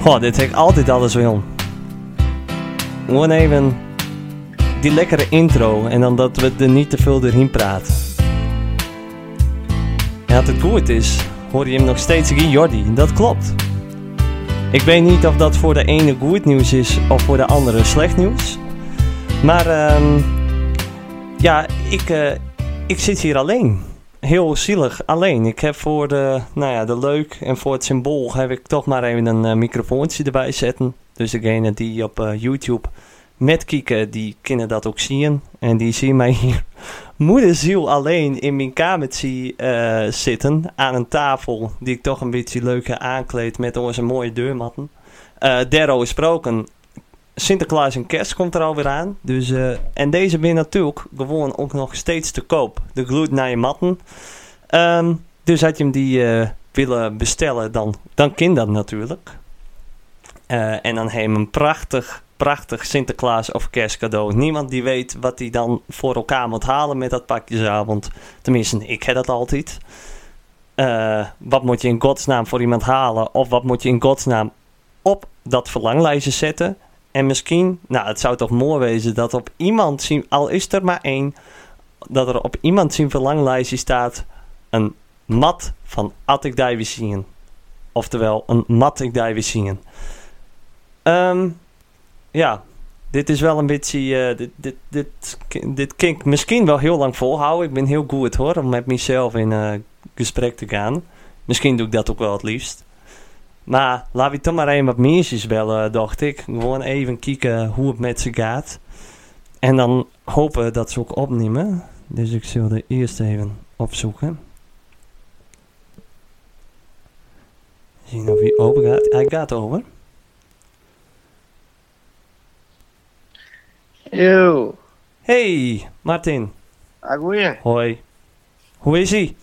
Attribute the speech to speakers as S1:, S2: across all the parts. S1: Goh, dit heb ik altijd alles wil. Gewoon even die lekkere intro en dan dat we er niet te veel doorheen praten. En als het goed is, hoor je hem nog steeds in Jordi. Dat klopt. Ik weet niet of dat voor de ene goed nieuws is of voor de andere slecht nieuws. Maar ehm, ja, ik, eh, ik zit hier alleen. Heel zielig alleen. Ik heb voor de, nou ja, de leuk en voor het symbool heb ik toch maar even een eh, microfoontje erbij zetten. Dus degene die op eh, YouTube met kieken, die kunnen dat ook zien. En die zien mij hier moederziel alleen in mijn kamertje eh, zitten. Aan een tafel die ik toch een beetje leuker aankleed met onze mooie deurmatten. Eh Derro is gesproken. Sinterklaas en kerst komt er alweer aan. Dus, eh, en deze weer natuurlijk gewoon ook nog steeds te koop. De gloed naar je matten. Ehm, dus had je hem die eh, willen bestellen, dan, dan kan dat natuurlijk. Eh, en dan heb je hem een prachtig, prachtig Sinterklaas of kerstcadeau. Niemand die weet wat hij dan voor elkaar moet halen met dat pakjesavond. Tenminste, ik heb dat altijd. Eh, wat moet je in godsnaam voor iemand halen? Of wat moet je in godsnaam op dat verlanglijstje zetten? En misschien, nou het zou toch mooi wezen dat op iemand, zien, al is er maar één, dat er op iemand zijn verlanglijstje staat een mat van Attic Divisien. Oftewel, een Matic Divisien. Ehm ja, dit is wel een beetje. eh, dit, dit, dit, dit kan ik misschien wel heel lang volhouden. Ik ben heel goed hoor, om met mezelf in eh, gesprek te gaan. Misschien doe ik dat ook wel het liefst. Maar laat ik toch maar even wat meisjes bellen, eh, dacht ik. Gewoon even kijken hoe het met ze gaat. En dan hopen dat ze ook opnemen. Dus ik zal de eerst even opzoeken. Zien of hij open gaat. Hij gaat over.
S2: Yo,
S1: Hey, Martin.
S2: ah, goeie.
S1: Hoi. Hoe is ie?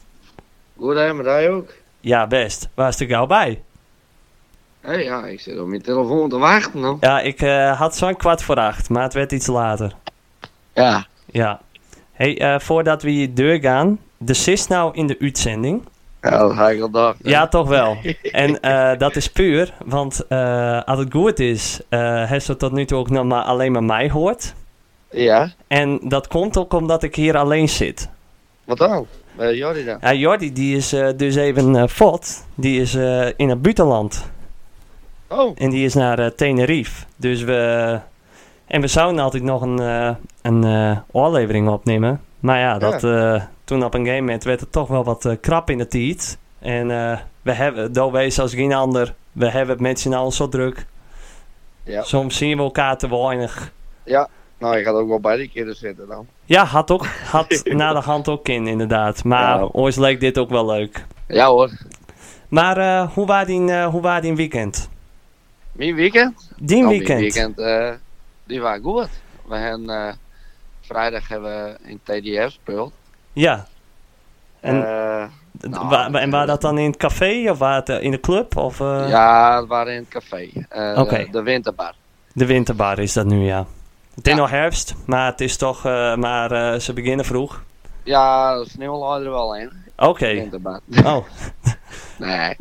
S2: Goed hè, met jij ook?
S1: Ja, best. Waar is de gauw bij?
S2: Hé, ja, ik zit op mijn telefoon te wachten dan.
S1: Ja, ik eh, had zo'n kwart voor acht, maar het werd iets later.
S2: Ja.
S1: Ja. Hey, eh, voordat we hier deur gaan, de sis nou in de uitzending.
S2: Ja, dat ga ik al dag. hè.
S1: Ja, toch wel. En eh, dat is puur, want eh, als het goed is, eh heeft ze tot nu toe ook nog maar alleen maar mij hoort.
S2: Ja,
S1: En dat komt ook omdat ik hier alleen zit.
S2: wat dan? Bij Jordi dan?
S1: Ja, Jordi, die is eh, dus even eh fot. Die is eh, in het buitenland.
S2: Oh,
S1: En die is naar eh, Tenerife. Dus we. En we zouden altijd nog een, eh een eh, oorlevering opnemen. Maar ja, dat, eh, toen op een game moment werd het toch wel wat eh, krap in de tijd. En eh, we hebben, doorwees als geen ander, we hebben het met z'n allen zo druk.
S2: Ja.
S1: Soms zien we elkaar te weinig.
S2: nou, je gaat ook wel bij die kinderen zitten dan.
S1: Ja, had ook, had na de hand ook in inderdaad. Maar
S2: Ja.
S1: ons leek dit ook wel leuk.
S2: Ja hoor.
S1: Maar eh, hoe was die, eh, hoe was die weekend?
S2: Mijn weekend?
S1: Die
S2: Nou,
S1: weekend?
S2: Mijn weekend, eh, die was goed. We hebben, eh, vrijdag hebben we in TDF gespeeld.
S1: Ja. En-
S2: Eh, Nou,
S1: Waar- en waar
S2: eh,
S1: dat dan in het café of waar het, eh, in de club of eh,
S2: ja, we waren in het café. Eh,
S1: Oké.
S2: De winterbar.
S1: de winterbar is dat nu ja. Het is
S2: Ja.
S1: nog herfst, maar het is toch eh, maar eh, ze beginnen vroeg.
S2: Ja, de sneeuw lag er wel in.
S1: Oké.
S2: Winterbar.
S1: Oh,
S2: Nee.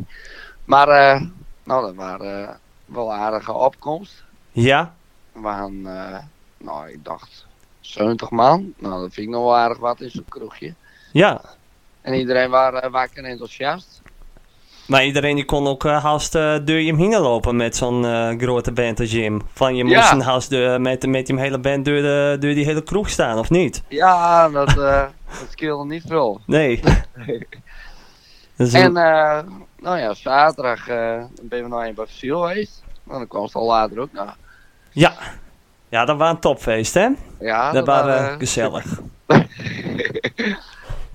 S2: Maar, eh, nou, dat waren eh, wel een aardige opkomst.
S1: ja.
S2: We hadden, eh, nou, ik dacht 70 man. Nou, dat vind ik nog wel aardig wat in zo'n kroegje.
S1: Ja.
S2: En iedereen was eh, wakker en enthousiast.
S1: Maar iedereen die kon ook eh, haast eh door je heen lopen met zo'n eh, grote band als Jim. Van je
S2: Ja.
S1: moest een haast door- met, met die hele band door, de, door die hele kroeg staan, of niet?
S2: Ja, dat, eh dat scheelde niet veel.
S1: Nee. Dat is een-
S2: En, eh, nou ja, zaterdag eh, ben we nog een bij Fasiel geweest. Nou, dan kwam ze al later ook nog.
S1: ja. ja, dat was een topfeest hè?
S2: Ja,
S1: dat was
S2: waren,
S1: eh,
S2: eh,
S1: gezellig.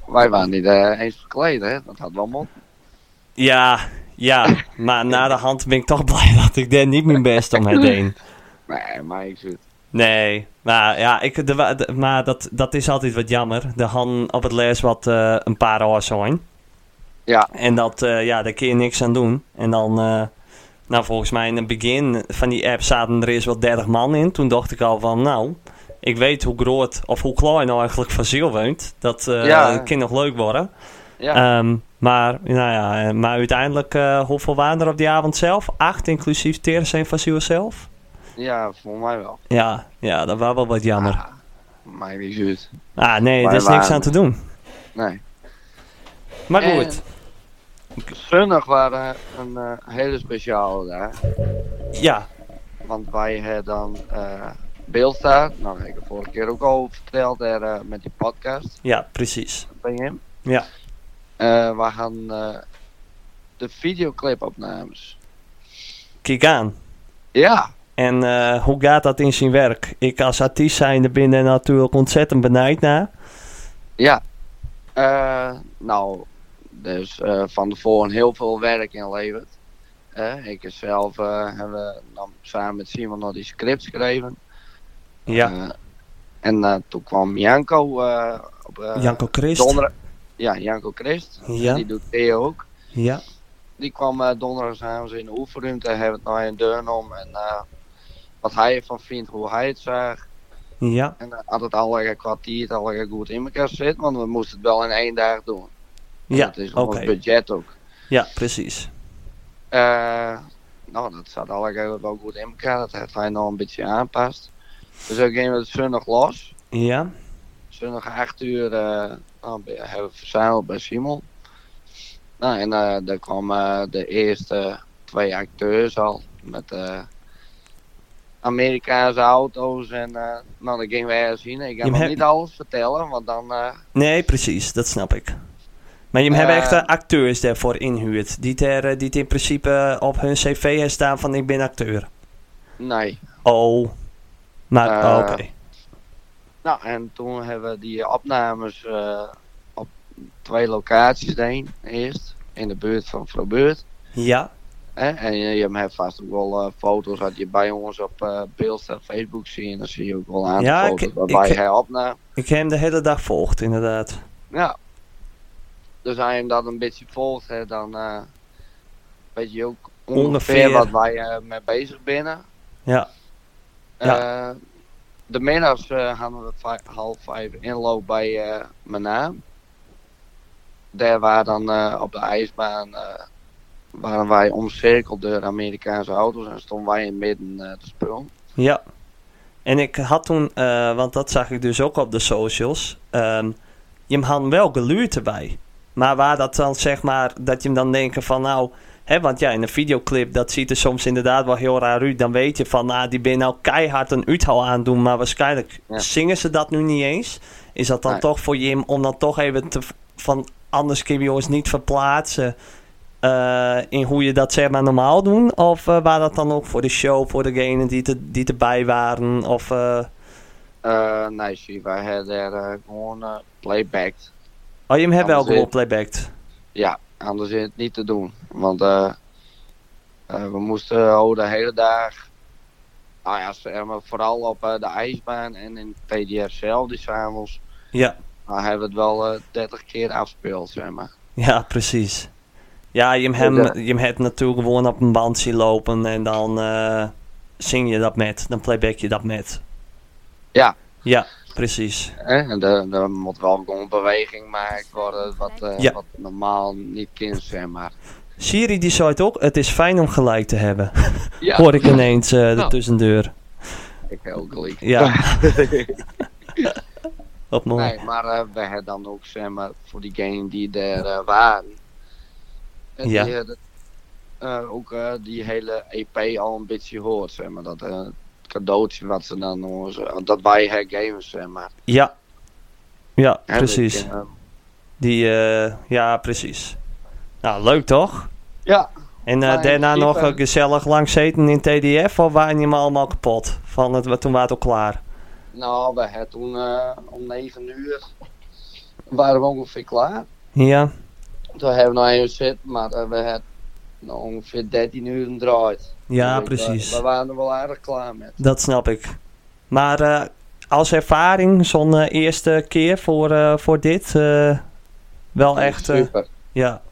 S2: Wij waren niet eh, eens verkleed, hè. Dat had wel mond.
S1: Ja, ja, maar na de hand ben ik toch blij dat ik daar niet mijn best om heb deed.
S2: Nee, maar ik zit...
S1: Nee, maar ja, ik, de, wa- de- maar dat, dat is altijd wat jammer. De han op het les wat eh, een paar uur zijn.
S2: Ja.
S1: En dat, eh, ja, daar kun je niks aan doen. En dan, eh, nou volgens mij in het begin van die app zaten er eerst wel 30 man in. Toen dacht ik al van, nou, ik weet hoe groot of hoe klein nou eigenlijk Fasiel woont. Dat eh
S2: Ja.
S1: kan nog leuk worden.
S2: Ja,
S1: Ehm, Maar, nou ja, eh, maar uiteindelijk, eh hoeveel waren er op die avond zelf? Acht, inclusief Terensen van Siel zelf?
S2: Ja, voor mij wel.
S1: Ja, ja, dat was wel wat jammer.
S2: Ah, maakt niet uit.
S1: Ah, nee,
S2: Wij
S1: er is niks
S2: waren- Eh.
S1: aan te doen.
S2: Nee.
S1: Maar
S2: En-
S1: goed,
S2: Zondag waren een eh, hele speciale dag.
S1: ja,
S2: Want wij hebben dan eh Beeldstar. Nou, ik heb vorige keer ook al verteld er, eh, met die podcast
S1: ja, precies.
S2: bij hem.
S1: Ja.
S2: Eh, we gaan eh, de videoclipopnames.
S1: Kijk aan.
S2: Ja,
S1: En eh, hoe gaat dat in zijn werk? Ik als artiest zijnde ben er natuurlijk ontzettend benijd naar.
S2: ja. Eh, nou, dus eh, van tevoren heel veel werk inleverd. Eh, ik zelf eh hebben dan samen met Simon nog die script geschreven.
S1: Ja,
S2: Eh, en eh, toen kwam Janko eh, op eh,
S1: Janko Christ.
S2: donderdag. Ja, Janko Christ.
S1: Ja,
S2: Die doet Theo ook.
S1: ja,
S2: Die kwam eh donderdagavond in de oefenruimte, hebben het naar een deur om en eh, wat hij ervan vindt, hoe hij het zag.
S1: ja,
S2: En eh, had het al een kwartier, het al een goed in elkaar zit, want we moesten het wel in één dag doen.
S1: ja,
S2: Het is
S1: oké.
S2: ons budget ook.
S1: Ja, precies.
S2: Eh, nou, dat zat al een wel goed in elkaar, dat heeft hij nog een beetje aangepast. Dus ook gingen we het zondag los.
S1: Ja,
S2: Zondag 8 uur eh, nou, be- hebben we verzameld bij Simon. Nou, en eh, daar kwamen eh, de eerste twee acteurs al met eh, Amerikaanse auto's. En eh, nou, dat gingen we ergens zien. Ik ga
S1: Je
S2: nog
S1: hebt-
S2: niet alles vertellen, want dan. eh,
S1: nee, precies, dat snap ik. Maar je hebt
S2: Eh,
S1: echt eh, acteurs daarvoor inhuurd, die, ter, eh, die het in principe eh, op hun cv hebben staan van ik ben acteur.
S2: nee.
S1: Oh, maar
S2: Eh,
S1: oké.
S2: Nou, en toen hebben we die opnames eh, op twee locaties gedaan. Eerst in de buurt van Frobeurt.
S1: Ja,
S2: Hè? En eh, je, je hebt vast ook wel eh, foto's dat je bij ons op eh beeld en Facebook ziet. Dan zie je ook wel aan
S1: Ja,
S2: de
S1: ik-
S2: foto's
S1: ik-
S2: waarbij nou, hij opnam.
S1: ik heb hem de hele dag volgd inderdaad.
S2: Ja. Dus als je hem dat een beetje volgt, hè, dan eh, weet je ook ongeveer,
S1: Ongeveer.
S2: wat wij eh, mee bezig binnen. Eh,
S1: Ja. Ja.
S2: de middags eh, hadden we vij- half vijf inloop bij eh mijn naam. Daar waren dan eh, op de ijsbaan eh, waren wij omcirkeld door Amerikaanse auto's en stonden wij in het midden eh, te spullen.
S1: Ja. En ik had toen, eh, want dat zag ik dus ook op de socials, ehm, je had wel geluurd erbij. Maar waar dat dan zeg maar, dat je hem dan denken van nou, hè, want ja, in een videoclip, dat ziet er soms inderdaad wel heel raar uit. Dan weet je van, nou, die ben nou keihard een uithal aan doen, maar waarschijnlijk
S2: Ja.
S1: zingen ze dat nu niet eens. Is dat dan
S2: Nee.
S1: toch voor Jim om dan toch even te, van anders kun je ons niet verplaatsen eh, in hoe je dat zeg maar normaal doen? Of eh waar dat dan ook voor de show, voor degenen die, te, die erbij waren? Of, eh,
S2: Eh, nee, zie, wij hadden er eh, gewoon eh, playbacked.
S1: oh, je hem hebt wel
S2: Anders
S1: gewoon
S2: is-
S1: playbacked.
S2: Ja, anders is het niet te doen. Want eh, eh, we moesten eh, oh, de hele dag, nou ja, zeg maar, vooral op eh, de ijsbaan en in het PDR zelf, die s'avonds,
S1: Ja,
S2: nou, hebben we het wel eh, 30 keer afgespeeld, zeg maar.
S1: ja, precies. Ja, je hem,
S2: Ja.
S1: je hem hebt natuurlijk gewoon op een band zien lopen en dan eh, zing je dat met. Dan playback je dat met.
S2: Ja.
S1: Ja, precies.
S2: Eh, En er er moet wel gewoon beweging gemaakt worden, wat, eh,
S1: Ja.
S2: wat normaal niet kind, zeg maar.
S1: Siri die zei het ook, het is fijn om gelijk te hebben.
S2: Ja,
S1: Hoor ik ineens eh de
S2: Nou.
S1: tussendeur.
S2: ik heb ook gelijk.
S1: Ja. Wat mooi.
S2: Nee, maar eh, we hebben dan ook, zeg maar, voor diegenen die er eh, waren. En
S1: Ja.
S2: die hadden, eh, ook eh, die hele EP al een beetje hoort, zeg maar. Dat eh, cadeautje wat ze dan ons, eh, dat wij hergeven, zeg maar.
S1: Ja. Ja,
S2: Hè,
S1: precies.
S2: dat ik, eh,
S1: Die, eh, ja, precies. Nou, leuk toch?
S2: ja,
S1: En eh,
S2: Maar in
S1: daarna
S2: principe-
S1: nog eh, gezellig lang zeten in TDF of waren je me allemaal kapot? Van het, toen waren het al klaar.
S2: nou, we hebben toen eh, om 9 uur waren we ongeveer klaar.
S1: Ja,
S2: Toen hebben we nog even zitten, maar eh, we hebben nog ongeveer 13 uur gedraaid.
S1: ja
S2: Dus, eh,
S1: precies.
S2: We, waren er wel aardig klaar met.
S1: Dat snap ik. Maar eh, als ervaring, zo'n eh, eerste keer voor, eh, voor dit, eh, wel echt... eh,
S2: Super.
S1: ja,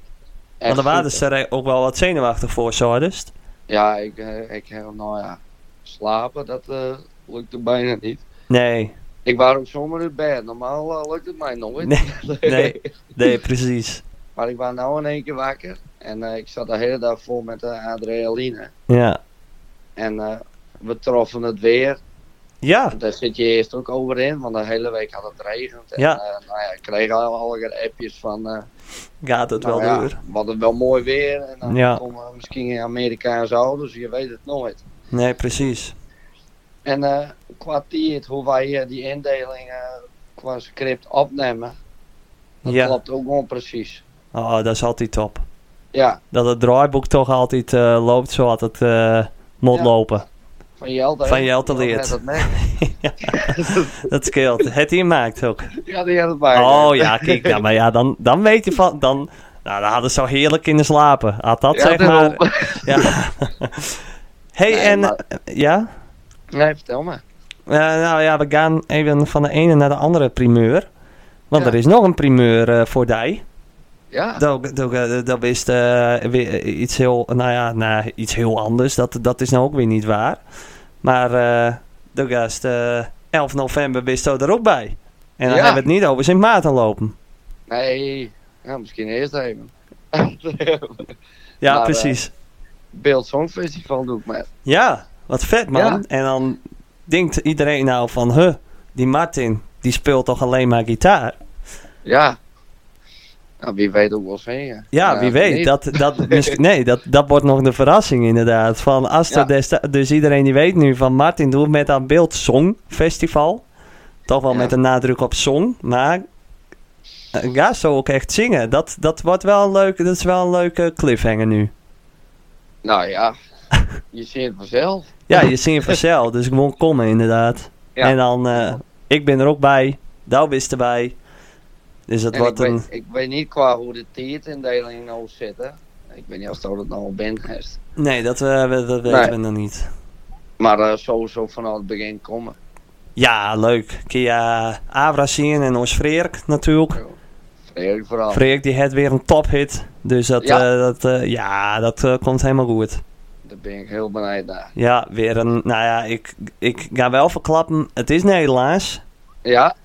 S2: echt
S1: want er waren
S2: super.
S1: ze er ook wel wat zenuwachtig voor, zo hè, dus.
S2: Ja, ik, eh, ik heb, nou ja, slapen, dat eh, lukte bijna niet.
S1: Nee,
S2: Ik was ook zomaar in bed. Normaal eh, lukt het mij nooit.
S1: Nee, nee. nee, precies.
S2: Maar ik was nou in één keer wakker. En eh, ik zat de hele dag vol met eh, adrenaline.
S1: Ja.
S2: En eh, we troffen het weer.
S1: Ja.
S2: Daar zit je eerst ook over in, want de hele week had het regend. En
S1: Ja.
S2: eh, nou ja, ik kreeg al alle appjes van eh,
S1: Gaat het wel
S2: nou ja,
S1: door.
S2: we hadden wel mooi weer. En dan
S1: Ja.
S2: komen we misschien in Amerika en zo, dus je weet het nooit.
S1: Nee, precies.
S2: En eh qua tijd, hoe wij eh, die indeling eh, qua script opnemen, dat
S1: Ja.
S2: klopt ook gewoon precies.
S1: Oh, dat is altijd top.
S2: Ja,
S1: Dat het draaiboek toch altijd eh, loopt zoals het eh, moet
S2: Ja.
S1: lopen.
S2: van Jelte.
S1: Van Jelte
S2: Die had
S1: leert.
S2: net het merk.
S1: Dat scheelt. Het hier maakt ook.
S2: ja, die eh. had het bij.
S1: Oh ja, kijk nou, maar ja, dan, dan weet je van, dan, nou, dan hadden ze al heerlijk kunnen slapen. Had dat
S2: Ja,
S1: zeg
S2: daarom.
S1: maar. Ja. hey,
S2: Nee,
S1: en eh,
S2: maar-
S1: ja,
S2: Nee, vertel me.
S1: Eh, nou ja, we gaan even van de ene naar de andere primeur. Want
S2: Ja.
S1: er is nog een primeur eh, voor die.
S2: Ja,
S1: Dat, dat, eh, dat is eh, weer iets heel, nou ja, nou, iets heel anders. Dat, dat is nou ook weer niet waar. Maar eh dat is, eh, 11 november ben je er ook bij. En dan
S2: Ja.
S1: hebben we het niet over Sint Maarten lopen.
S2: nee. Ja, misschien eerst even.
S1: Ja,
S2: Maar, eh,
S1: precies.
S2: Beeld Songfestival doe ik met.
S1: Ja, wat vet man.
S2: Ja.
S1: En dan denkt iedereen nou van, huh, die Martin, die speelt toch alleen maar gitaar?
S2: Ja. Nou, wie weet ook wel zingen.
S1: Ja, wie weet.
S2: niet.
S1: Dat, dat, misschien- nee, dat, dat wordt nog de verrassing inderdaad. Van Asta
S2: Ja.
S1: Desta- dus iedereen die weet nu van Martin doet met aan beeld Song Festival. Toch wel
S2: Ja.
S1: met een nadruk op song, maar eh, ga zo ook echt zingen. Dat, dat wordt wel een leuk, dat is wel een leuke cliffhanger nu.
S2: Nou ja, je ziet het vanzelf.
S1: Ja, je zingt vanzelf, dus gewoon komen inderdaad.
S2: Ja.
S1: En dan, eh, ik ben er ook bij, Douw is erbij. Dus dat
S2: En ik,
S1: wordt een...
S2: weet, ik weet niet qua hoe de tiertindeling nou zit. Hè. Ik weet niet of dat het nou al bent. heeft.
S1: Nee, dat, eh, we- dat weten
S2: Nee.
S1: we nog niet.
S2: Maar eh, sowieso vanaf het begin komen.
S1: Ja, leuk. Kia Avra zien en ons Freerk natuurlijk.
S2: Vreemd vooral.
S1: Freerk die had weer een tophit. Dus dat,
S2: Ja.
S1: ja. dat, eh, ja, dat eh, komt helemaal goed.
S2: Daar ben ik heel benieuwd naar.
S1: Ja, weer een... Nou ja, ik, ik ga wel verklappen. Het is Nederlands.
S2: Ja.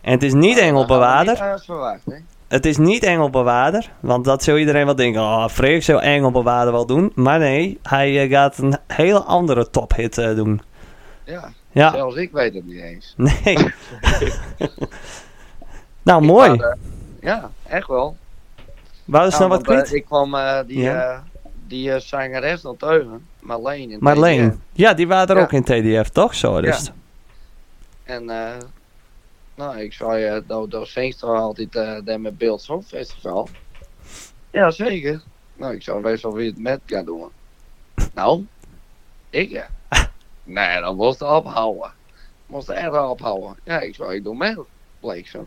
S1: En het is niet Engelbewaarder.
S2: Dat had ik niet eh, verwacht, hè.
S1: Het is niet Engelbewaarder. Want dat zou iedereen wel denken. Oh, Freerk zou Engelbewaarder wel doen. Maar nee, hij eh, gaat een hele andere tophit eh, doen.
S2: Ja.
S1: Ja,
S2: Zelfs ik weet het niet eens.
S1: nee. nou, mooi.
S2: Maar, eh, ja, echt wel.
S1: Waar is
S2: Ja,
S1: nou wat
S2: want,
S1: kwijt?
S2: eh, ik kwam eh, die,
S1: Ja.
S2: eh, die eh, zangeres nog teugen, Marleen. in
S1: Marleen.
S2: TDR.
S1: Ja, die waren er
S2: Ja.
S1: ook in TDF, toch? Zo, dus. Ja.
S2: En eh, nou, ik zei, je dat, dat zingt toch altijd eh, daar met Beeld Songfestival. Ja, zeker. Nou, ik zou best wel weer het met gaan doen. nou, ik ja. nee, dan moest het ophouden. Moest echt ophouden. Ja, ik zou ik doe mee, bleek zo.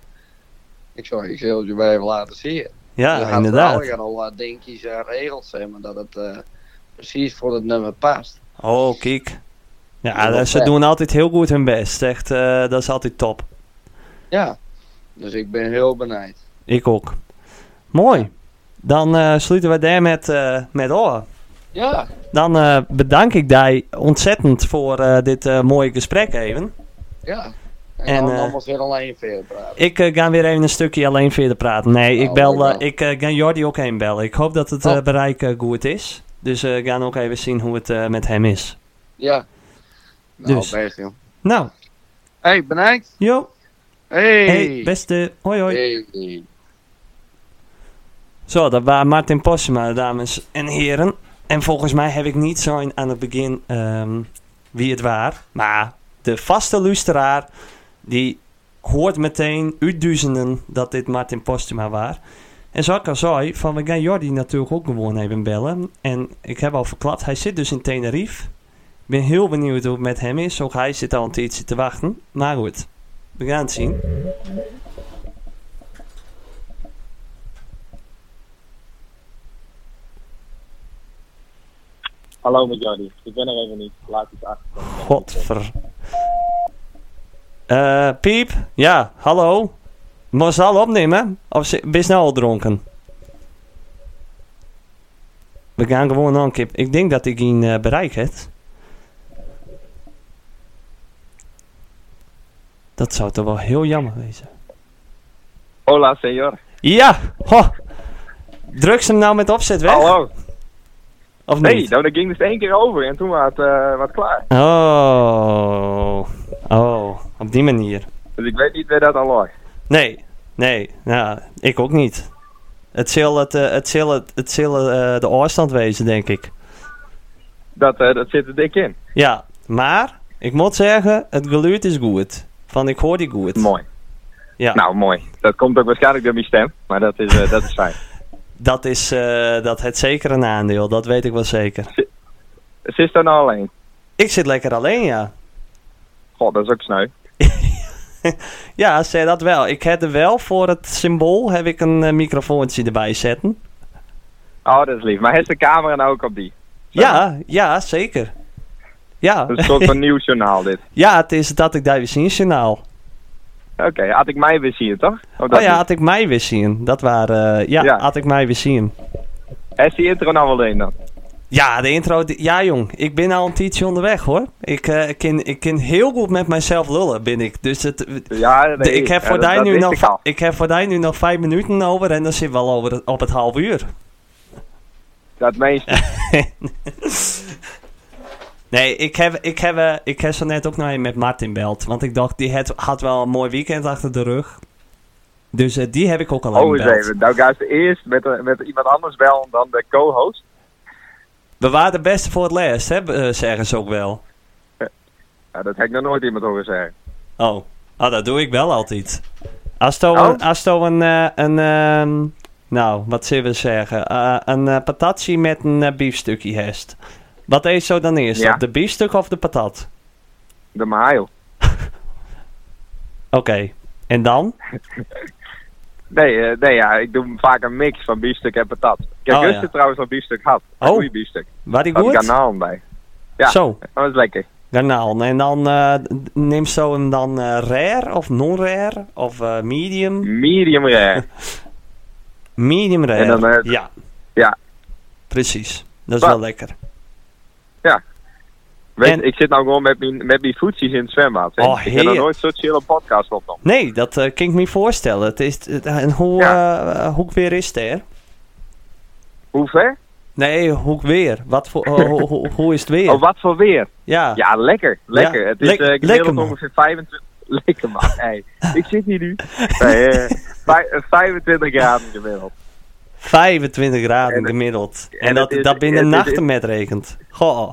S2: Ik zou ik zal het je maar even laten zien. Dan gaan ze
S1: inderdaad.
S2: al- gaan al wat dingetjes en regels zeg maar dat het eh, precies voor het nummer past.
S1: Oh, kijk. Ja,
S2: Ja,
S1: dat-
S2: dat
S1: ze
S2: vet.
S1: doen altijd heel goed hun best. Echt, eh, dat is altijd top.
S2: Ja, dus ik ben heel benijd.
S1: Ik ook. Mooi. Dan eh, sluiten we daar met, eh met oor.
S2: Ja,
S1: Dan eh, bedank ik jij ontzettend voor eh, dit eh, mooie gesprek even.
S2: ja. En,
S1: En,
S2: dan
S1: eh,
S2: allemaal weer alleen verder praten.
S1: Ik eh, ga weer even een stukje alleen verder praten. Nee, ik,
S2: Oh,
S1: bel,
S2: leuk
S1: eh,
S2: man.
S1: ik eh, ga Jordi ook heen bellen. Ik hoop dat het
S2: Oh.
S1: eh, bereik eh, goed is. Dus eh, we gaan ook even zien hoe het eh, met hem is.
S2: Ja. Nou,
S1: dus.
S2: best joh.
S1: Nou,
S2: Hey, benijd.
S1: joh.
S2: Hey.
S1: Hey, beste. Hoi, hoi.
S2: Hey.
S1: Zo, dat waren Martin Postma, dames en heren. En volgens mij heb ik niet zo in- aan het begin ehm, wie het waar. Maar de vaste luisteraar, die hoort meteen uit duizenden dat dit Martin Postma waar. En zoals ik al zei, van we gaan Jordi natuurlijk ook gewoon even bellen. En ik heb al verklapt, hij zit dus in Tenerife. Ik ben heel benieuwd hoe het met hem is. Ook hij zit al een tijdje te wachten. Maar goed, we gaan het zien.
S3: Hallo met Jordi. Ik ben er even niet. Laat iets achter.
S1: Godver. Eh, Piep, ja, hallo. Moest je al opnemen? Of zi- ben je nou al dronken? We gaan gewoon nog een keer. Ik denk dat ik geen eh, bereik heb. Dat zou toch wel heel jammer wezen.
S3: Hola, senor.
S1: Ja, ho. Drugs hem nou met opzet weg?
S4: Hallo.
S1: Of
S4: Nee,
S1: niet?
S4: nou, dat ging dus één keer over en toen was het eh, was het klaar.
S1: Oh. Oh, op die manier.
S4: Dus ik weet niet waar dat aan lag.
S1: Nee, nee, nou, ik ook niet. Het zal, het, eh, het zal, het, het zal eh, de afstand wezen, denk ik.
S4: Dat, eh, dat zit er dik in.
S1: Ja, maar ik moet zeggen, het geluid is goed. Van ik hoor die goed.
S4: Mooi.
S1: Ja,
S4: Nou, mooi. Dat komt ook waarschijnlijk door mijn stem, maar dat is, eh, dat is fijn.
S1: dat is eh, dat het zeker een aandeel, dat weet ik wel zeker.
S4: Ze is daar nou alleen.
S1: Ik zit lekker alleen, ja.
S4: God, dat is ook sneu.
S1: Ja, zei dat wel. Ik heb er wel voor het symbool heb ik een eh, microfoontje erbij zetten.
S4: Oh, dat is lief. Maar heeft de camera nou ook op die? Zo.
S1: Ja, ja, zeker. Ja.
S4: Dat is een soort van nieuwsjournaal dit.
S1: ja, het is dat ik daar weer zie, journaal.
S4: Oké, had ik mij weer zien, toch? Of dat
S1: Oh ja,
S4: niet?
S1: had ik mij weer zien. Dat waren, eh, ja,
S4: Ja.
S1: had ik mij weer zien.
S4: Heeft die intro nou wel in dan?
S1: Ja, de intro. die- Ja, jong. Ik ben al een tijdje onderweg, hoor. Ik, eh, ik, ken, ik ken heel goed met mijzelf lullen, ben ik. Dus het,
S4: Ja, nee,
S1: de- ik, heb
S4: ja,
S1: voor
S4: dat-
S1: die
S4: dat
S1: nu
S4: wist
S1: nog,
S4: ik al.
S1: ik heb voor die nu nog vijf minuten over en dan zit wel over het- op het half uur.
S4: Dat meeste.
S1: Nee, ik heb, ik heb, eh, ik heb zo net ook nog even met Martin beld. Want ik dacht, die had, had wel een mooi weekend achter de rug. Dus eh, die heb ik ook al aan
S4: Oh, eens
S1: gebeld.
S4: even. Nou, ga ze eerst met, eh, met iemand anders bellen dan de co-host.
S1: We waren de beste voor het laatst, hè, eh, zeggen ze ook wel.
S4: Ja, dat heb ik nog nooit iemand horen zeggen.
S1: Oh, Ah, dat doe ik wel altijd. Als to
S4: Oh?
S1: een, als to een, eh, een ehm, nou, wat zullen we zeggen, Eh, een eh, patatje met een eh, biefstukje hest. Wat eet zo dan eerst,
S4: Ja.
S1: dat, de biefstuk of de patat?
S4: De mail.
S1: Oké, en dan?
S4: Nee, eh, nee ja, ik doe vaak een mix van biefstuk en patat. Ik heb
S1: Oh,
S4: gisteren
S1: ja.
S4: trouwens al biefstuk gehad. Een
S1: Oh.
S4: goede biefstuk.
S1: Waar die
S4: Daar had ik
S1: goed?
S4: garnaal bij. Ja,
S1: Zo,
S4: dat is lekker.
S1: garnaal. En dan eh, neemt zo hem dan eh, rare of non-rare of eh, medium?
S4: Medium rare.
S1: Medium rare.
S4: En dan, eh,
S1: ja.
S4: ja.
S1: Precies, dat is
S4: Maar-
S1: wel lekker.
S4: Weet,
S1: En-
S4: Ik zit nou gewoon met mijn, met mijn voetsies in het zwembad. hè.
S1: Oh,
S4: ik heb nog
S1: heer.
S4: nooit zo'n chille podcast opgenomen.
S1: Nee, dat eh, kan ik me voorstellen. Het is, het- en hoe, eh, hoe weer is het er?
S4: Hoe ver?
S1: Nee, hoe weer? Wat voor, oh, hoe, hoe, hoe is het weer?
S4: Oh, wat voor weer?
S1: ja.
S4: Ja, lekker. Lekker.
S1: Ja,
S4: Het is
S1: lek-
S4: eh,
S1: lekker,
S4: gemiddeld
S1: man.
S4: ongeveer 25... Lekker man. Hey, ik zit hier nu. Nee, eh, vij- eh, 25 graden gemiddeld.
S1: 25 graden
S4: En-
S1: gemiddeld. En,
S4: en
S1: dat,
S4: het is-
S1: dat binnen
S4: het is-
S1: nachten met rekent. Goh,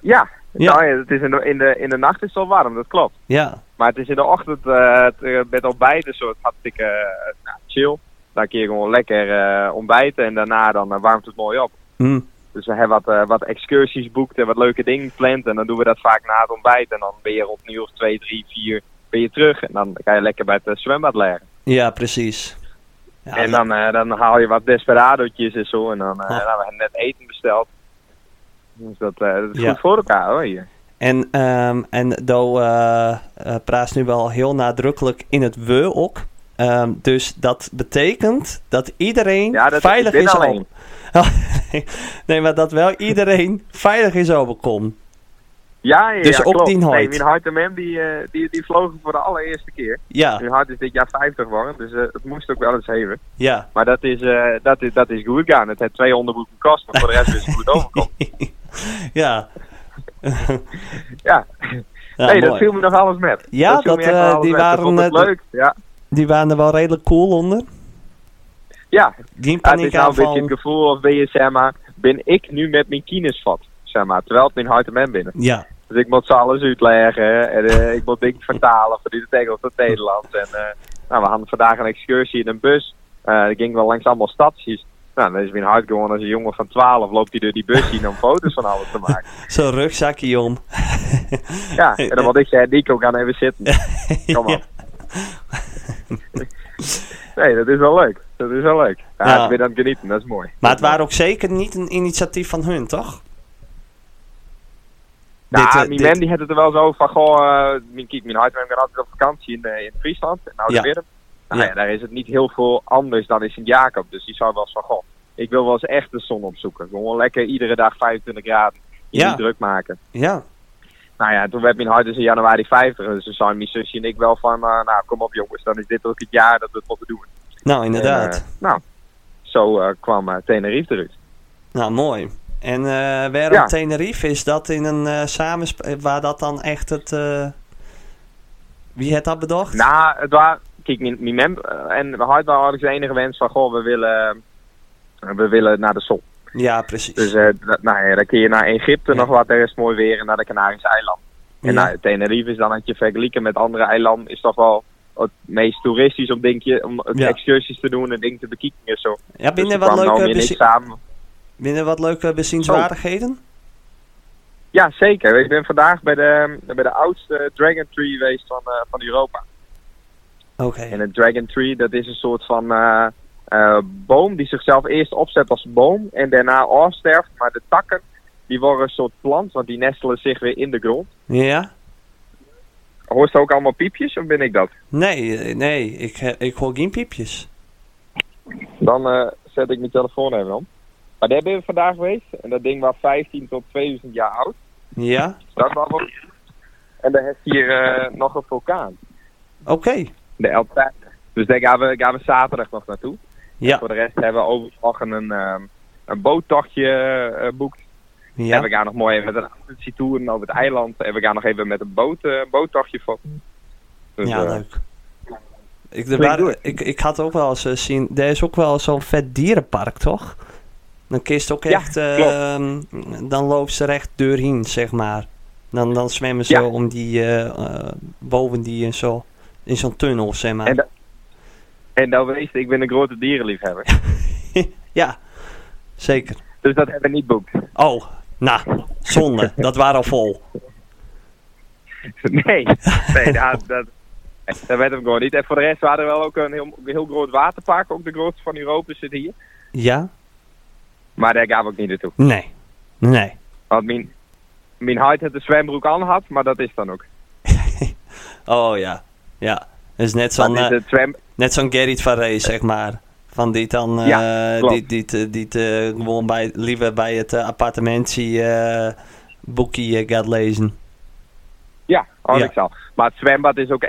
S4: Ja.
S1: Ja.
S4: Nou ja, het is in, de, in, de, in de nacht is het al warm, dat klopt.
S1: ja.
S4: Maar het is in de ochtend eh, het, eh, met ontbijt een soort hartstikke eh, nou, chill. Dan kun je gewoon lekker eh, ontbijten en daarna dan eh, warmt het mooi op.
S1: Hm.
S4: Dus we hebben wat, eh, wat excursies boekt en wat leuke dingen gepland. En dan doen we dat vaak na het ontbijt. En dan ben je rond een uur of twee, drie, vier ben je terug. En dan ga je lekker bij het eh, zwembad leggen.
S1: Ja, precies. Ja,
S4: en dan, eh, dan haal je wat desperadootjes en zo. En dan, eh,
S1: Ah.
S4: nou, we hebben net eten besteld. Dus dat, eh, dat is
S1: Ja.
S4: goed voor elkaar hoor hier.
S1: en, ehm, en Do eh, eh, praat nu wel heel nadrukkelijk in het we ook. Ehm, dus dat betekent dat iedereen
S4: Ja, dat
S1: veilig
S4: ik ben
S1: is op-
S4: alleen.
S1: Oh, nee, maar dat wel iedereen veilig is overkomen.
S4: Ja, ja,
S1: Dus
S4: ja,
S1: ook
S4: klopt.
S1: die nooit.
S4: Nee, mijn hart en mem die, eh, die, die vlogen voor de allereerste keer.
S1: Ja,
S4: Mijn hart is dit jaar 50 geworden, dus eh, het moest ook wel eens even.
S1: ja.
S4: Maar dat is, eh, dat is, dat is goed gaan. Het heeft twee onderbroeken kost, maar voor de rest is het goed overkomen.
S1: ja.
S4: Ja.
S1: Ja,
S4: nee, dat
S1: mooi.
S4: viel me nog alles met.
S1: Ja,
S4: viel me
S1: dat,
S4: echt nog
S1: eh,
S4: alles
S1: die
S4: met. Ik
S1: waren,
S4: vond het
S1: eh,
S4: leuk. Ja,
S1: Die waren er wel redelijk cool onder.
S4: ja.
S1: Geen
S4: het is
S1: paniek
S4: nou een beetje
S1: aanval.
S4: het gevoel of ben je, zeg maar, ben ik nu met mijn kines vat, zeg maar, terwijl het mijn hart en mijn binnen.
S1: Ja,
S4: Dus ik moet ze alles uitleggen en eh, ik moet dingen vertalen van dit Engels tot Nederlands. En eh, nou, we hadden vandaag een excursie in een bus. Eh ik ging wel langs allemaal stadjes. Nou, dan is mijn hart gewoon als een jongen van 12 loopt hij door die bus heen om foto's van alles te maken.
S1: zo'n rugzakje om.
S4: Ja, en dan wat ik zei, Nico, ga even zitten. Kom op.
S1: Ja.
S4: Nee, dat is wel leuk. Dat is wel leuk. Ja,
S1: Ja.
S4: Ik ben aan het genieten, dat is mooi.
S1: Maar het waren ook zeker niet een initiatief van hun, toch?
S4: Nou, Ja,
S1: dit, eh,
S4: mijn
S1: dit-
S4: man die had het er wel zo van, goh, eh, mijn, kijk, mijn hardware gaat altijd op vakantie in, eh, in Friesland, in oude
S1: Ja.
S4: Nou
S1: Ja.
S4: ja. daar is het niet heel veel anders dan in Sint-Jacob. Dus die zou wel eens van, goh, ik wil wel eens echt de zon opzoeken. Gewoon lekker iedere dag 25 graden, je
S1: Ja.
S4: niet druk maken.
S1: Ja,
S4: Nou ja, toen werd mijn hart dus in januari 50. Dus toen zei mijn zusje en ik wel van, eh, nou kom op jongens, dan is dit ook het jaar dat we het moeten doen.
S1: nou inderdaad.
S4: En, eh, nou, zo zo eh, kwam eh, Tenerife eruit.
S1: Nou, mooi. En eh waarom
S4: Ja.
S1: Tenerife? Is dat in een eh samensp- waar dat dan echt het... eh, Wie heeft dat bedacht?
S4: Nou, het was, kijk, mijn, mijn mem eh, en Hart waren eigenlijk de enige wens van, goh, we willen, eh, we willen naar de zon.
S1: ja, precies.
S4: Dus eh, dat- nou ja, dan kun je naar Egypte
S1: Ja.
S4: nog wat, er is mooi weer en naar de Canarische eilanden. En
S1: Ja.
S4: nou, Tenerife is dan, als je vergelijken met andere eilanden, is toch wel het meest toeristisch om, dingetje, om het
S1: Ja.
S4: excursies te doen en dingen te bekijken en zo.
S1: ja,
S4: Dus
S1: binnen
S4: er
S1: wat,
S4: kwam nou Oh.
S1: leuke
S4: meer niks
S1: bezi-
S4: samen.
S1: binnen wat leuke bezienswaardigheden?
S4: Ja, zeker. Ik ben vandaag bij de, bij de oudste Dragon Tree geweest van, eh, van Europa.
S1: Oké.
S4: En een dragon tree, dat is een soort van eh, eh, boom die zichzelf eerst opzet als boom en daarna afsterft. Maar de takken, die worden een soort plant, want die nestelen zich weer in de grond.
S1: Ja?
S4: Hoort ook allemaal piepjes, of ben ik dat?
S1: Nee, eh, nee. Ik, he- ik hoor geen piepjes.
S4: Dan eh, zet ik mijn telefoon even om. Maar daar ben ik vandaag geweest. En dat ding was 15 tot 2000 jaar oud.
S1: Ja?
S4: Dat was wel- En dan heeft hier eh, nog een vulkaan.
S1: Oké.
S4: De El Teide. Dus daar gaan we, gaan we zaterdag nog naartoe.
S1: Ja.
S4: Voor de rest hebben we overmorgen een, ehm, een boottochtje eh, boekt. En
S1: Ja.
S4: we gaan nog mooi even met een autootje toeren over het eiland. En we gaan nog even met een boot, eh, boottochtje voor. Dus,
S1: Ja,
S4: eh,
S1: leuk. Ik, er
S4: klinkt
S1: waren-
S4: goed.
S1: ik, ik had ook wel eens eh, zien... Er is ook wel zo'n vet dierenpark, toch? Dan kist ook
S4: Ja,
S1: echt... eh, dan loopt ze recht doorheen, zeg maar. Dan, dan zwemmen ze
S4: Ja.
S1: om die... eh, eh, boven die en zo... In zo'n tunnel, zeg maar.
S4: En dat- En nou weet je, ik ben een grote dierenliefhebber.
S1: Ja, zeker.
S4: dus dat hebben we niet boekt.
S1: Oh, nou, zonde. dat waren al vol.
S4: nee, nee dat, dat, dat werd hem gewoon niet. En voor de rest waren er wel ook een heel, heel groot waterpark. Ook de grootste van Europa zit hier.
S1: Ja?
S4: Maar daar gaan we ook niet naartoe.
S1: Nee. Nee.
S4: Want mijn, mijn huid het de zwembroek aan had, maar dat is dan ook.
S1: Oh ja. Ja. Dat is net
S4: Dan
S1: zo'n
S4: is
S1: eh,
S4: het zwem,
S1: net zo'n Gerrit van Rey, zeg maar. Van die dan, eh,
S4: Ja, klopt.
S1: die, die, die, die eh, gewoon bij, liever bij het eh, appartementje eh boekje eh, gaat lezen.
S4: Ja, oh,
S1: Ja.
S4: ik zal. Maar het zwembad is ook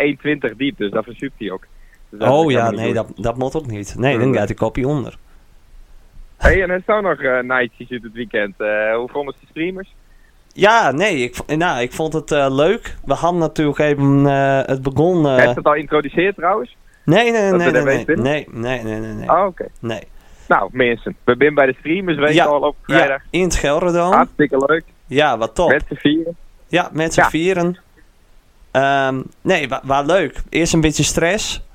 S4: 1,20 diep, dus dat verzuipt hij ook. Dus dat
S1: oh
S4: kan
S1: ja,
S4: niet
S1: nee,
S4: doen.
S1: dat, dat moet ook niet. Nee, dan
S4: Nee.
S1: gaat de kopie onder.
S4: hey, en er staan nog eh nightjes dit weekend. Eh, hoe vonden ze de streamers?
S1: Ja, nee, ik, v- nou, ik vond het eh, leuk. We hadden natuurlijk even, eh, het begon... eh,
S4: Heb je het al geïntroduceerd trouwens?
S1: nee, nee,
S4: dat
S1: nee,
S4: we
S1: nee,
S4: er
S1: nee,
S4: weet binnen?
S1: nee, nee, nee, nee, nee,
S4: Oh, oké.
S1: nee.
S4: Nou, mensen, we zijn bij de streamers, weet
S1: Ja.
S4: al, op
S1: Ja, Oh.
S4: vrijdag. Ah.
S1: in het Gelderdoom.
S4: Hartstikke leuk,
S1: Ja, wat top.
S4: met z'n vieren.
S1: Ja, met z'n
S4: Ja.
S1: vieren. Ehm, nee, wa- waar leuk. Eerst een beetje stress.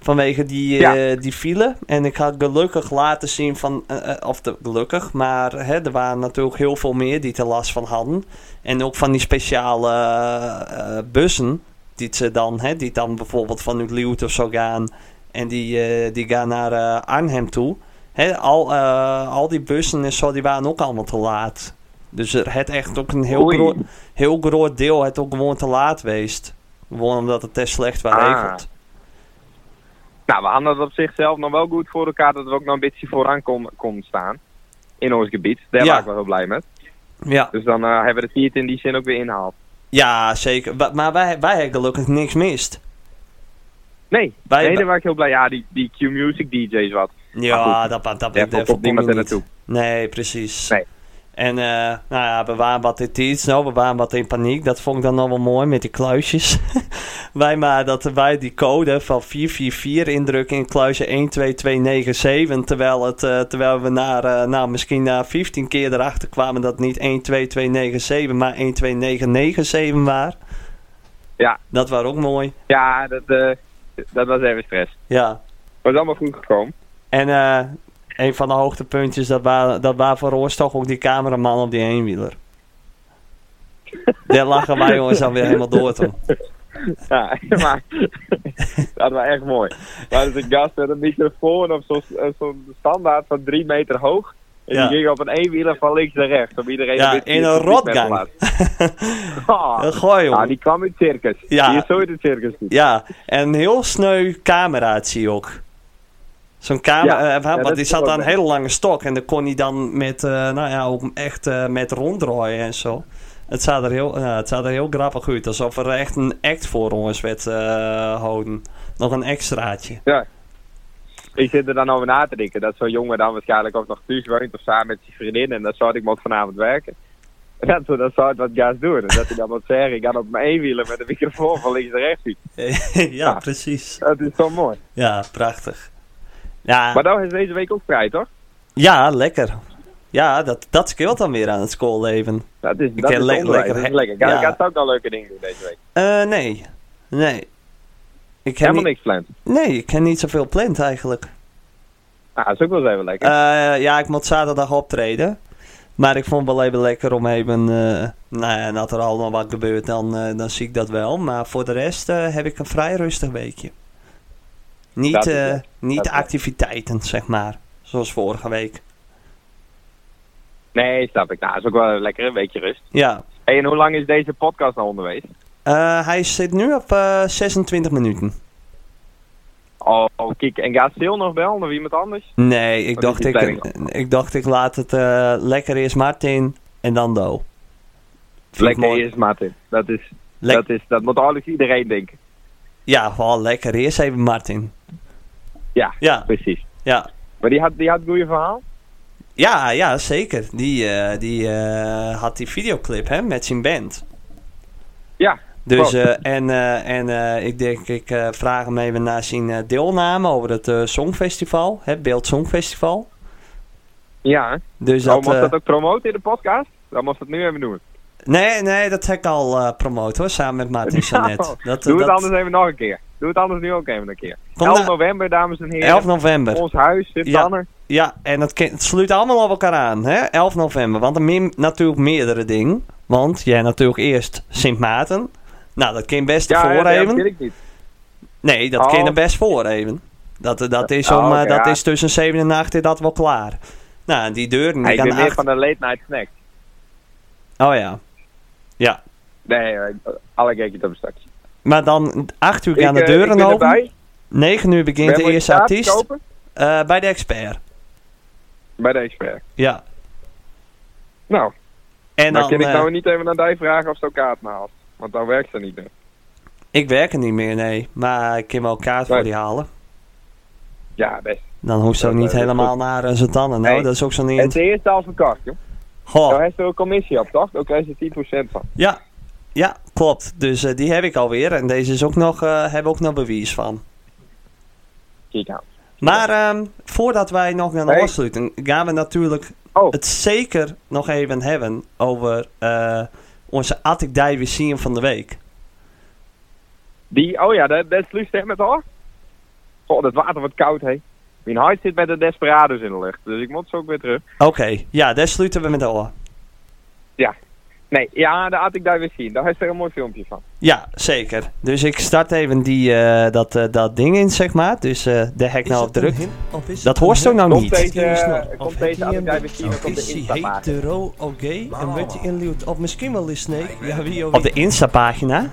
S1: Vanwege die, eh, die file. En ik had gelukkig laten zien van... eh, eh, of de, gelukkig, maar hè, er waren natuurlijk heel veel meer die er last van hadden. En ook van die speciale eh, eh, bussen. Die ze dan, hè, die dan bijvoorbeeld vanuit Liut of zo gaan. En die, eh, die gaan naar eh, Arnhem toe. Hè, al, eh, al die bussen en zo, die waren ook allemaal te laat. Dus er het echt ook een heel
S4: Oei.
S1: groot, heel groot deel het ook gewoon te laat geweest. Gewoon omdat het te slecht was
S4: Ah.
S1: regeld.
S4: Nou, we hadden het op zichzelf nog wel goed voor elkaar dat we ook nog een beetje vooraan kon- konden staan. In ons gebied, daar
S1: Ja.
S4: waren we wel blij mee.
S1: Ja,
S4: Dus dan eh, hebben we het hier in die zin ook weer ingehaald.
S1: ja zeker. Wa- Maar wij, wij hebben gelukkig niks mist.
S4: Nee,
S1: Wij-
S4: nee daar was ik heel blij. Ja, die, die Q-Music DJ's wat. Maar
S1: Ja,
S4: goed,
S1: dat, dat, dat,
S4: Daar
S1: dat
S4: komt niemand er naartoe.
S1: Nee, precies.
S4: Nee.
S1: En eh, nou ja, we waren wat in iets, nou, we waren wat in paniek. Dat vond ik dan nog wel mooi met die kluisjes. wij maar dat wij die code van 444 indrukken in kluisje 12297. Terwijl, het, eh, terwijl we naar, eh, nou, misschien na 15 keer erachter kwamen dat het niet 12297, maar 12997 was.
S4: Ja.
S1: Dat was ook mooi.
S4: Ja, dat, eh, dat was even stress.
S1: Ja.
S4: Was allemaal goed gekomen.
S1: En eh, een van de hoogtepuntjes, dat waren dat waren voor ons toch ook die cameraman op die eenwieler. Daar lachen wij jongens dan weer helemaal door toen.
S4: Ja, maar dat was echt mooi. Maar dus dat is een gast met een microfoon op zo'n eh, zo'n standaard van drie meter hoog. En
S1: Ja.
S4: die ging op een eenwieler van links naar rechts. Om iedereen
S1: Ja,
S4: een beetje
S1: in een
S4: het publiek
S1: rotgang.
S4: met te laten. Ah,
S1: Heel Gooi
S4: ja,
S1: jongen.
S4: die kwam uit het circus.
S1: Ja.
S4: Die is zo uit het circus. niet.
S1: Ja, en een heel sneu cameraatje ook. Zo'n camera,
S4: Ja,
S1: eh,
S4: ja,
S1: want
S4: dat
S1: die
S4: is
S1: zat
S4: wel
S1: aan een
S4: leuk.
S1: hele lange stok en dan kon hij dan met, eh, nou ja, ook echt eh, met ronddraaien en zo. Het zag, er heel, ja, het zag er heel grappig uit, alsof er echt een act voor ons werd eh houden. Nog een extraatje.
S4: Ja. ik zit er dan over na te denken dat zo'n jongen dan waarschijnlijk ook nog thuis woont of samen met zijn vriendin en dat zou ik moet vanavond werken. En Dat, we- dat zou ik wat gas doen. En dat hij dan wat zeggen, ik ga op mijn eenwielen met een microfoon van links naar rechts. zien.
S1: ja,
S4: Ja.
S1: precies.
S4: Dat is zo mooi.
S1: Ja, prachtig. Ja,
S4: Maar dan is deze week ook vrij, toch?
S1: ja lekker. Ja, dat, dat scheelt dan weer aan het schoolleven.
S4: Dat is, dat
S1: ken
S4: is
S1: le-
S4: onderwijs,
S1: lekker-
S4: dat is lekker. Ga,
S1: ja.
S4: ga het ook al leuke dingen doen deze week.
S1: Eh, nee. Nee. Ik heb
S4: Helemaal
S1: niet,
S4: niks planned.
S1: nee, ik heb niet zoveel plant eigenlijk.
S4: Ah, dat is ook wel eens even lekker.
S1: Eh, ja, ik moet zaterdag optreden. Maar ik vond wel even lekker om even... eh nou ja, en als er allemaal wat gebeurt, dan, eh, dan zie ik dat wel. Maar voor de rest eh, heb ik een vrij rustig weekje. Niet,
S4: Dat is
S1: eh,
S4: het.
S1: niet
S4: Dat is het.
S1: activiteiten, zeg maar. Zoals vorige week.
S4: Nee, snap ik. Nou, dat is ook wel een lekker een weekje rust.
S1: Ja.
S4: Hey, en hoe lang is deze podcast nou onderwees?
S1: Eh, hij zit nu op eh, 26 minuten.
S4: Oh, oh, kijk. En gaat Sil nog bellen of iemand anders?
S1: Nee, ik
S4: Wat is
S1: dacht
S4: die
S1: ik,
S4: planning?
S1: ik dacht ik laat het eh, lekker eerst Martin en dan Do. Vind ik
S4: Lekker
S1: mooi.
S4: is, Martin. Dat is,
S1: Lek-
S4: dat is, dat moet eigenlijk iedereen denken.
S1: Ja, vooral lekker eerst even Martin.
S4: Ja,
S1: Ja,
S4: precies.
S1: ja.
S4: Maar die had, die had een goede verhaal?
S1: Ja, ja, zeker. Die, eh, die eh, had die videoclip hè, met zijn band.
S4: Ja.
S1: Dus,
S4: klopt.
S1: eh, en eh, en eh, ik denk, ik eh, vraag hem even naar zijn eh, deelname over het eh, Songfestival, hè, Beeld Songfestival.
S4: ja.
S1: Dus
S4: Dat,
S1: dat,
S4: mocht
S1: eh,
S4: Oh, dat ook promoten in de podcast? Dan mocht dat nu even doen.
S1: nee, nee, dat heb ik al eh promoten hoor, samen met Martin Sanet.
S4: Nou,
S1: dat,
S4: Doe het
S1: dat-
S4: anders even nog een keer. Doe het anders nu ook even een keer.
S1: Kom
S4: 11
S1: nou-
S4: november, dames en heren.
S1: 11 november.
S4: Ons huis, zit
S1: Ja.
S4: Tanner.
S1: Ja, en het, ken- het sluit allemaal op elkaar aan, hè? 11 november. Want er meer, natuurlijk meerdere dingen. Want jij natuurlijk eerst Sint Maarten. Nou, dat kan best voor
S4: dat
S1: even.
S4: weet ik niet.
S1: nee, dat
S4: Oh.
S1: kan er best voor even. Dat, dat, is, om,
S4: Oh, oké,
S1: eh, dat
S4: ja.
S1: is tussen 7 en 8 is dat wel klaar. Nou, en die deur die
S4: ik
S1: gaan
S4: ben meer
S1: achter-
S4: van de late night snack.
S1: Oh ja. Ja.
S4: Nee, eh, alle gekjes op straks.
S1: Maar dan 8 uur
S4: Ik,
S1: gaan de
S4: eh, ik
S1: deuren
S4: ben
S1: open.
S4: erbij.
S1: 9 uur begint
S4: Ben
S1: de
S4: voor je
S1: eerste
S4: kaart
S1: artiest
S4: kopen?
S1: eh, bij de expert.
S4: Bij de expert.
S1: Ja.
S4: Nou,
S1: En
S4: dan
S1: dan,
S4: kan ik
S1: eh,
S4: nou niet even naar die vragen of ze elkaar kaart haalt. Want dan werkt ze niet meer.
S1: ik werk er niet meer, nee. Maar ik kan wel kaart voor
S4: Nee.
S1: die halen.
S4: Ja, best.
S1: Dan hoeft ze ook
S4: Dat,
S1: niet
S4: eh,
S1: helemaal naar eh, zijn tanden. Nou,
S4: Nee.
S1: dat is ook zo'n
S4: Het
S1: niet.
S4: is eerst al verkort, joh. Daar
S1: Goh,
S4: heeft er een commissie op, toch? Ook krijg je 10% van.
S1: ja. Ja, klopt. Dus eh, die heb ik alweer. En deze is ook nog, eh hebben ook nog bewijs van.
S4: Kijk aan.
S1: Maar ehm, voordat wij nog gaan
S4: Hey.
S1: afsluiten, gaan we natuurlijk
S4: Oh.
S1: het zeker nog even hebben over eh, onze Attic Dive zien van de week.
S4: Die, oh ja, dat, dat sluit echt met haar. Goh, dat water wordt koud, hé. Mijn hart zit met de desperados in de lucht. Dus ik moet zo ook weer terug.
S1: Oké, ja, daar sluiten we met oor.
S4: Nee, ja, dat had ik daar weer zien. Daar heeft er een mooi filmpje van.
S1: Ja, zeker. Dus ik start even die, eh, dat, eh, dat ding in, zeg maar. Dus eh daar heb ik nou op druk. Dat hoorst ook nou
S4: Komt
S1: niet.
S4: deze,
S5: Snor.
S4: eh, komt deze had ik daar weer zien. Dan komt de
S5: Is
S4: Insta
S5: hij
S4: maken.
S5: hetero, of gay, een beetje inluwd of misschien wel een snake? Ja, wie
S1: Op de Insta-pagina.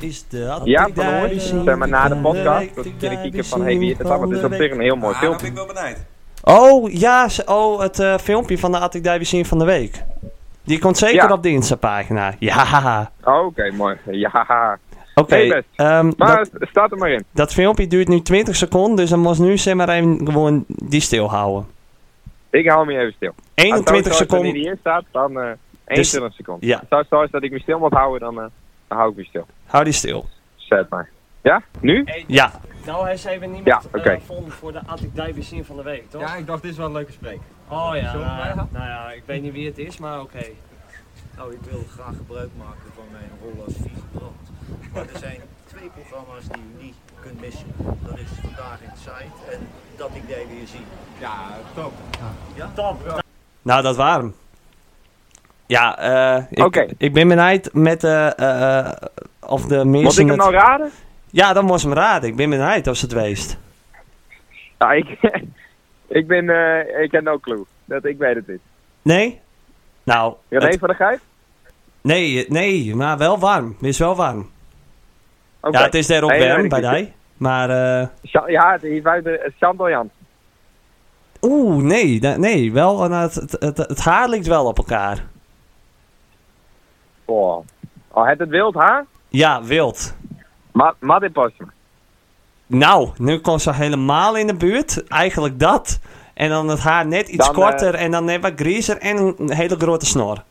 S5: is dat?
S4: Ja, van hoor die zeg maar na de
S1: eh,
S4: podcast. Dat kun je kijken van, hé, hey, wie is het dan? Het is op zich een heel mooi
S6: Ah, dan
S4: filmpje.
S6: ben ik wel benijd.
S1: Oh, ja. ze- Oh, het eh, filmpje van de Attic Dive zien van de week. Die komt zeker
S4: Ja.
S1: op de Insta-pagina. Ja.
S4: Oh, Oké, mooi. Ja.
S1: Oké.
S4: Hey, best.
S1: ehm,
S4: Maar
S1: dat,
S4: het staat er maar in.
S1: dat filmpje duurt nu 20 seconden. Dus dan moest nu zeg maar even gewoon die stilhouden.
S4: Ik hou me even stil. Als het
S1: 21
S4: Ah, zo is dat hij
S1: seconden. Dus-
S4: hier staat, dan eh 21 seconden.
S1: ja.
S4: Als het zo is dat ik me stil moet houden, dan, eh, dan hou ik me stil.
S1: Hou die stil.
S4: Zet maar. Ja? Nu?
S1: Ja. Nou, hij is even niet
S4: Ja, eh, oké.
S1: voor de Attic Dive zien van de week, toch?
S6: Ja, ik dacht, dit is wel een leuke spreek.
S1: Oh ja,
S6: Zullen we nou ja,
S1: nou,
S6: gaan?
S1: ja, ik weet niet wie het is, maar oké.
S7: Nou, ik wil graag gebruik maken van mijn rol als vicebrand. Maar er zijn twee programma's die u niet kunt missen. Dat is Vandaag in Site en Dat ik jij weer zie.
S6: Ja, top.
S1: Nou, dat waren. Ja, eh ik,
S4: Oké.
S1: ik ben benijd met eh, eh, eh, of de mensen
S4: Moet ik hem
S1: het-
S4: nou raden?
S1: Ja, dan moest hem raden. Ik ben benijd of ze het weest.
S4: Ja, ik, ik ben... eh, ik heb no clue. Dat, ik weet het niet.
S1: Nee? Nou,
S4: René
S1: het-
S4: van der Gijp?
S1: nee, eh, nee, maar wel warm. Het is wel warm.
S4: Oké.
S1: Ja, het is daar ook
S4: Nee, nee,
S1: warm
S4: ik-
S1: bij die. Maar, eh,
S4: Sja- Ja, het is buiten eh, Chantal Jans.
S1: oeh, nee, da- nee, wel, eh, nou, het, het, het, het haar ligt wel op elkaar.
S4: Oh. Al het het wild haar?
S1: Ja, wild.
S4: Ma- Madde Postma.
S1: Nou, nu kwam ze helemaal in de buurt. Eigenlijk dat. En dan het haar net iets
S4: Dan, eh,
S1: korter en dan net wat griezer en een een hele grote snor.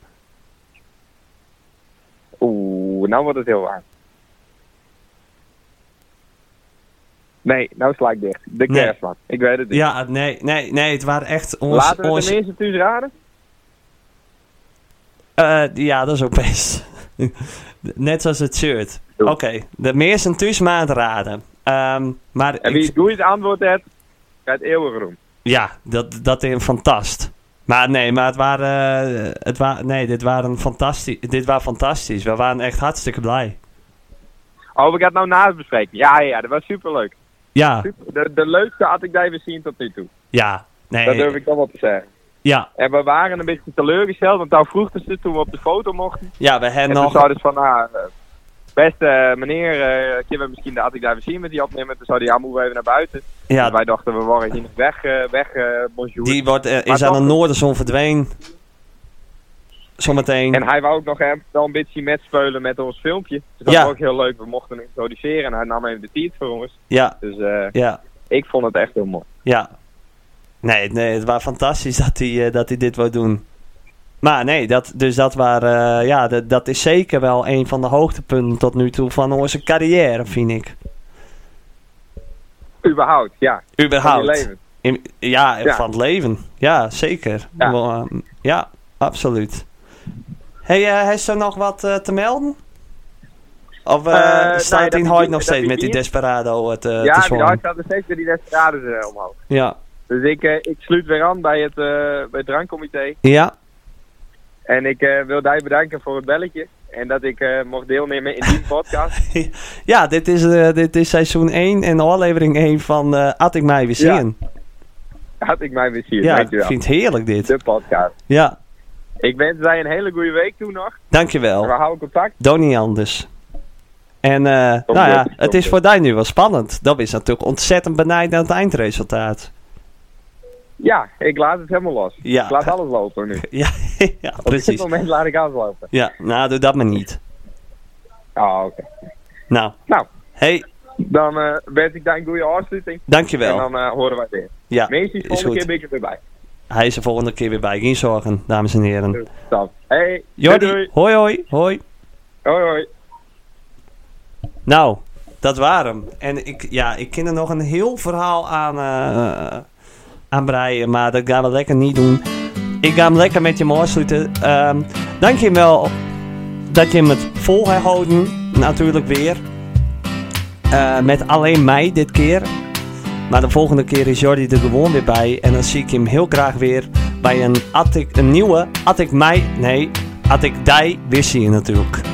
S4: Oeh, nou wordt het heel warm. Nee, nou sla ik dicht. De
S1: Nee.
S4: kerstman. Ik weet het niet.
S1: Ja, nee, nee, nee. Het waren echt ons...
S4: Laten we
S1: ons-
S4: het eerst thuis raden.
S1: Eh, ja, dat is ook best. Net zoals het shirt. Oké, de meest enthousiasme aan het raden. Ehm, maar
S4: En
S1: ik-
S4: wie doe het antwoord het? Gaat eeuwig roem.
S1: ja, dat, dat is een fantast. Maar nee, maar het waren, eh, het wa nee, dit waren fantastisch. Dit waren fantastisch. We waren echt hartstikke blij.
S4: Oh, we gaan het nou naast bespreken. Ja, ja, ja, dat was superleuk.
S1: Ja,
S4: Super. De, de leukste had ik daar even zien tot nu toe.
S1: ja, nee,
S4: Dat durf ik dan wel te zeggen.
S1: ja,
S4: En we waren een beetje teleurgesteld, want daar vroegen ze toen we op de foto mochten.
S1: ja, we hebben
S4: En toen
S1: nog,
S4: zouden ze van, nou, eh, beste eh, meneer, eh kunnen we misschien de Attic even zien met die opnemen? Toen zou die Amoe even naar buiten.
S1: ja,
S4: Dus wij dachten, we worden hier nog weg, eh, weg eh, bonjour.
S1: die wordt, eh,
S4: Maar
S1: is aan de
S4: toch-
S1: noorderzon verdwenen. Zometeen.
S4: En hij wou ook nog hem wel een beetje metspeulen met ons filmpje. Dus dat
S1: Ja.
S4: was ook heel leuk. We mochten hem introduceren en hij nam even de tiet voor ons.
S1: Ja,
S4: Dus eh,
S1: ja.
S4: ik vond het echt heel mooi.
S1: Ja. Nee, nee het was fantastisch dat hij, eh, dat hij dit wou doen. Maar nee, dat, dus dat, waren, eh, ja, dat, dat is zeker wel een van de hoogtepunten tot nu toe van onze carrière, vind ik.
S4: Überhaupt, ja. Van je
S1: Überhaupt.
S4: leven.
S1: In- ja,
S4: Ja.
S1: van het leven. Ja, zeker.
S4: Ja.
S1: Wel, ehm, ja absoluut. Hey, eh, heeft er nog wat eh, te melden? Of eh,
S4: Eh, nee,
S1: staat
S4: dat
S1: hij in
S4: die-
S1: Hoyt nog
S4: dat
S1: steeds
S4: die
S1: met die
S4: bier-
S1: Desperado eh, te, te
S4: ja, die
S1: zwommen?
S4: hart staat nog steeds door die desperades eh, omhoog.
S1: Ja,
S4: Dus ik, eh, ik sluit weer aan bij het, eh, bij het drankcomité.
S1: ja,
S4: En ik eh, wil jij bedanken voor het belletje. En dat ik eh, mocht deelnemen in die podcast.
S1: ja dit, is, eh, dit is seizoen 1 en aflevering 1 van eh At ik mij weer
S4: Ja.
S1: zien.
S4: Had ik mij weer zien.
S1: Ja, ik
S4: Dankjewel.
S1: vind het heerlijk dit.
S4: De podcast.
S1: Ja,
S4: Ik wens jij een hele goede week toe nog. We
S1: dankjewel.
S4: houden contact.
S1: Donnie Anders. En eh,
S4: Kom
S1: nou ja,
S4: door, kom
S1: het is
S4: door.
S1: voor jou nu wel spannend. Dat is natuurlijk ontzettend benijd naar het eindresultaat.
S4: Ja, ik laat het helemaal los.
S1: Ja.
S4: Ik laat alles lopen nu.
S1: Ja, ja
S4: Op
S1: precies.
S4: dit moment laat ik alles lopen.
S1: Ja, nou doe dat maar niet.
S4: Ah, oké.
S1: Nou,
S4: Nou.
S1: hey,
S4: Dan eh wens ik daar een goede afsluiting. En
S1: dankjewel.
S4: dan eh, horen wij weer.
S1: Ja,
S4: Meestal
S1: is
S4: volgende keer
S1: goed.
S4: ben ik er weer bij.
S1: Hij is er volgende keer weer bij. Geen zorgen, dames en heren.
S4: Dan. Hey, doei,
S1: Jordi,
S4: doei.
S1: hoi hoi, hoi.
S4: Hoi hoi.
S1: Nou, dat waren. hem. En ik, ja, ik ken er nog een heel verhaal aan, eh, aan breien, maar dat gaan we lekker niet doen. Ik ga hem lekker met je mooi sluiten. Ehm, dank je wel dat je hem het vol hebt houden. Natuurlijk weer. Eh, met alleen mij dit keer. Maar de volgende keer is Jordi er gewoon weer bij. En dan zie ik hem heel graag weer bij een, Attic, een nieuwe Attic Mei. Nee, Attic Dij weer zien natuurlijk.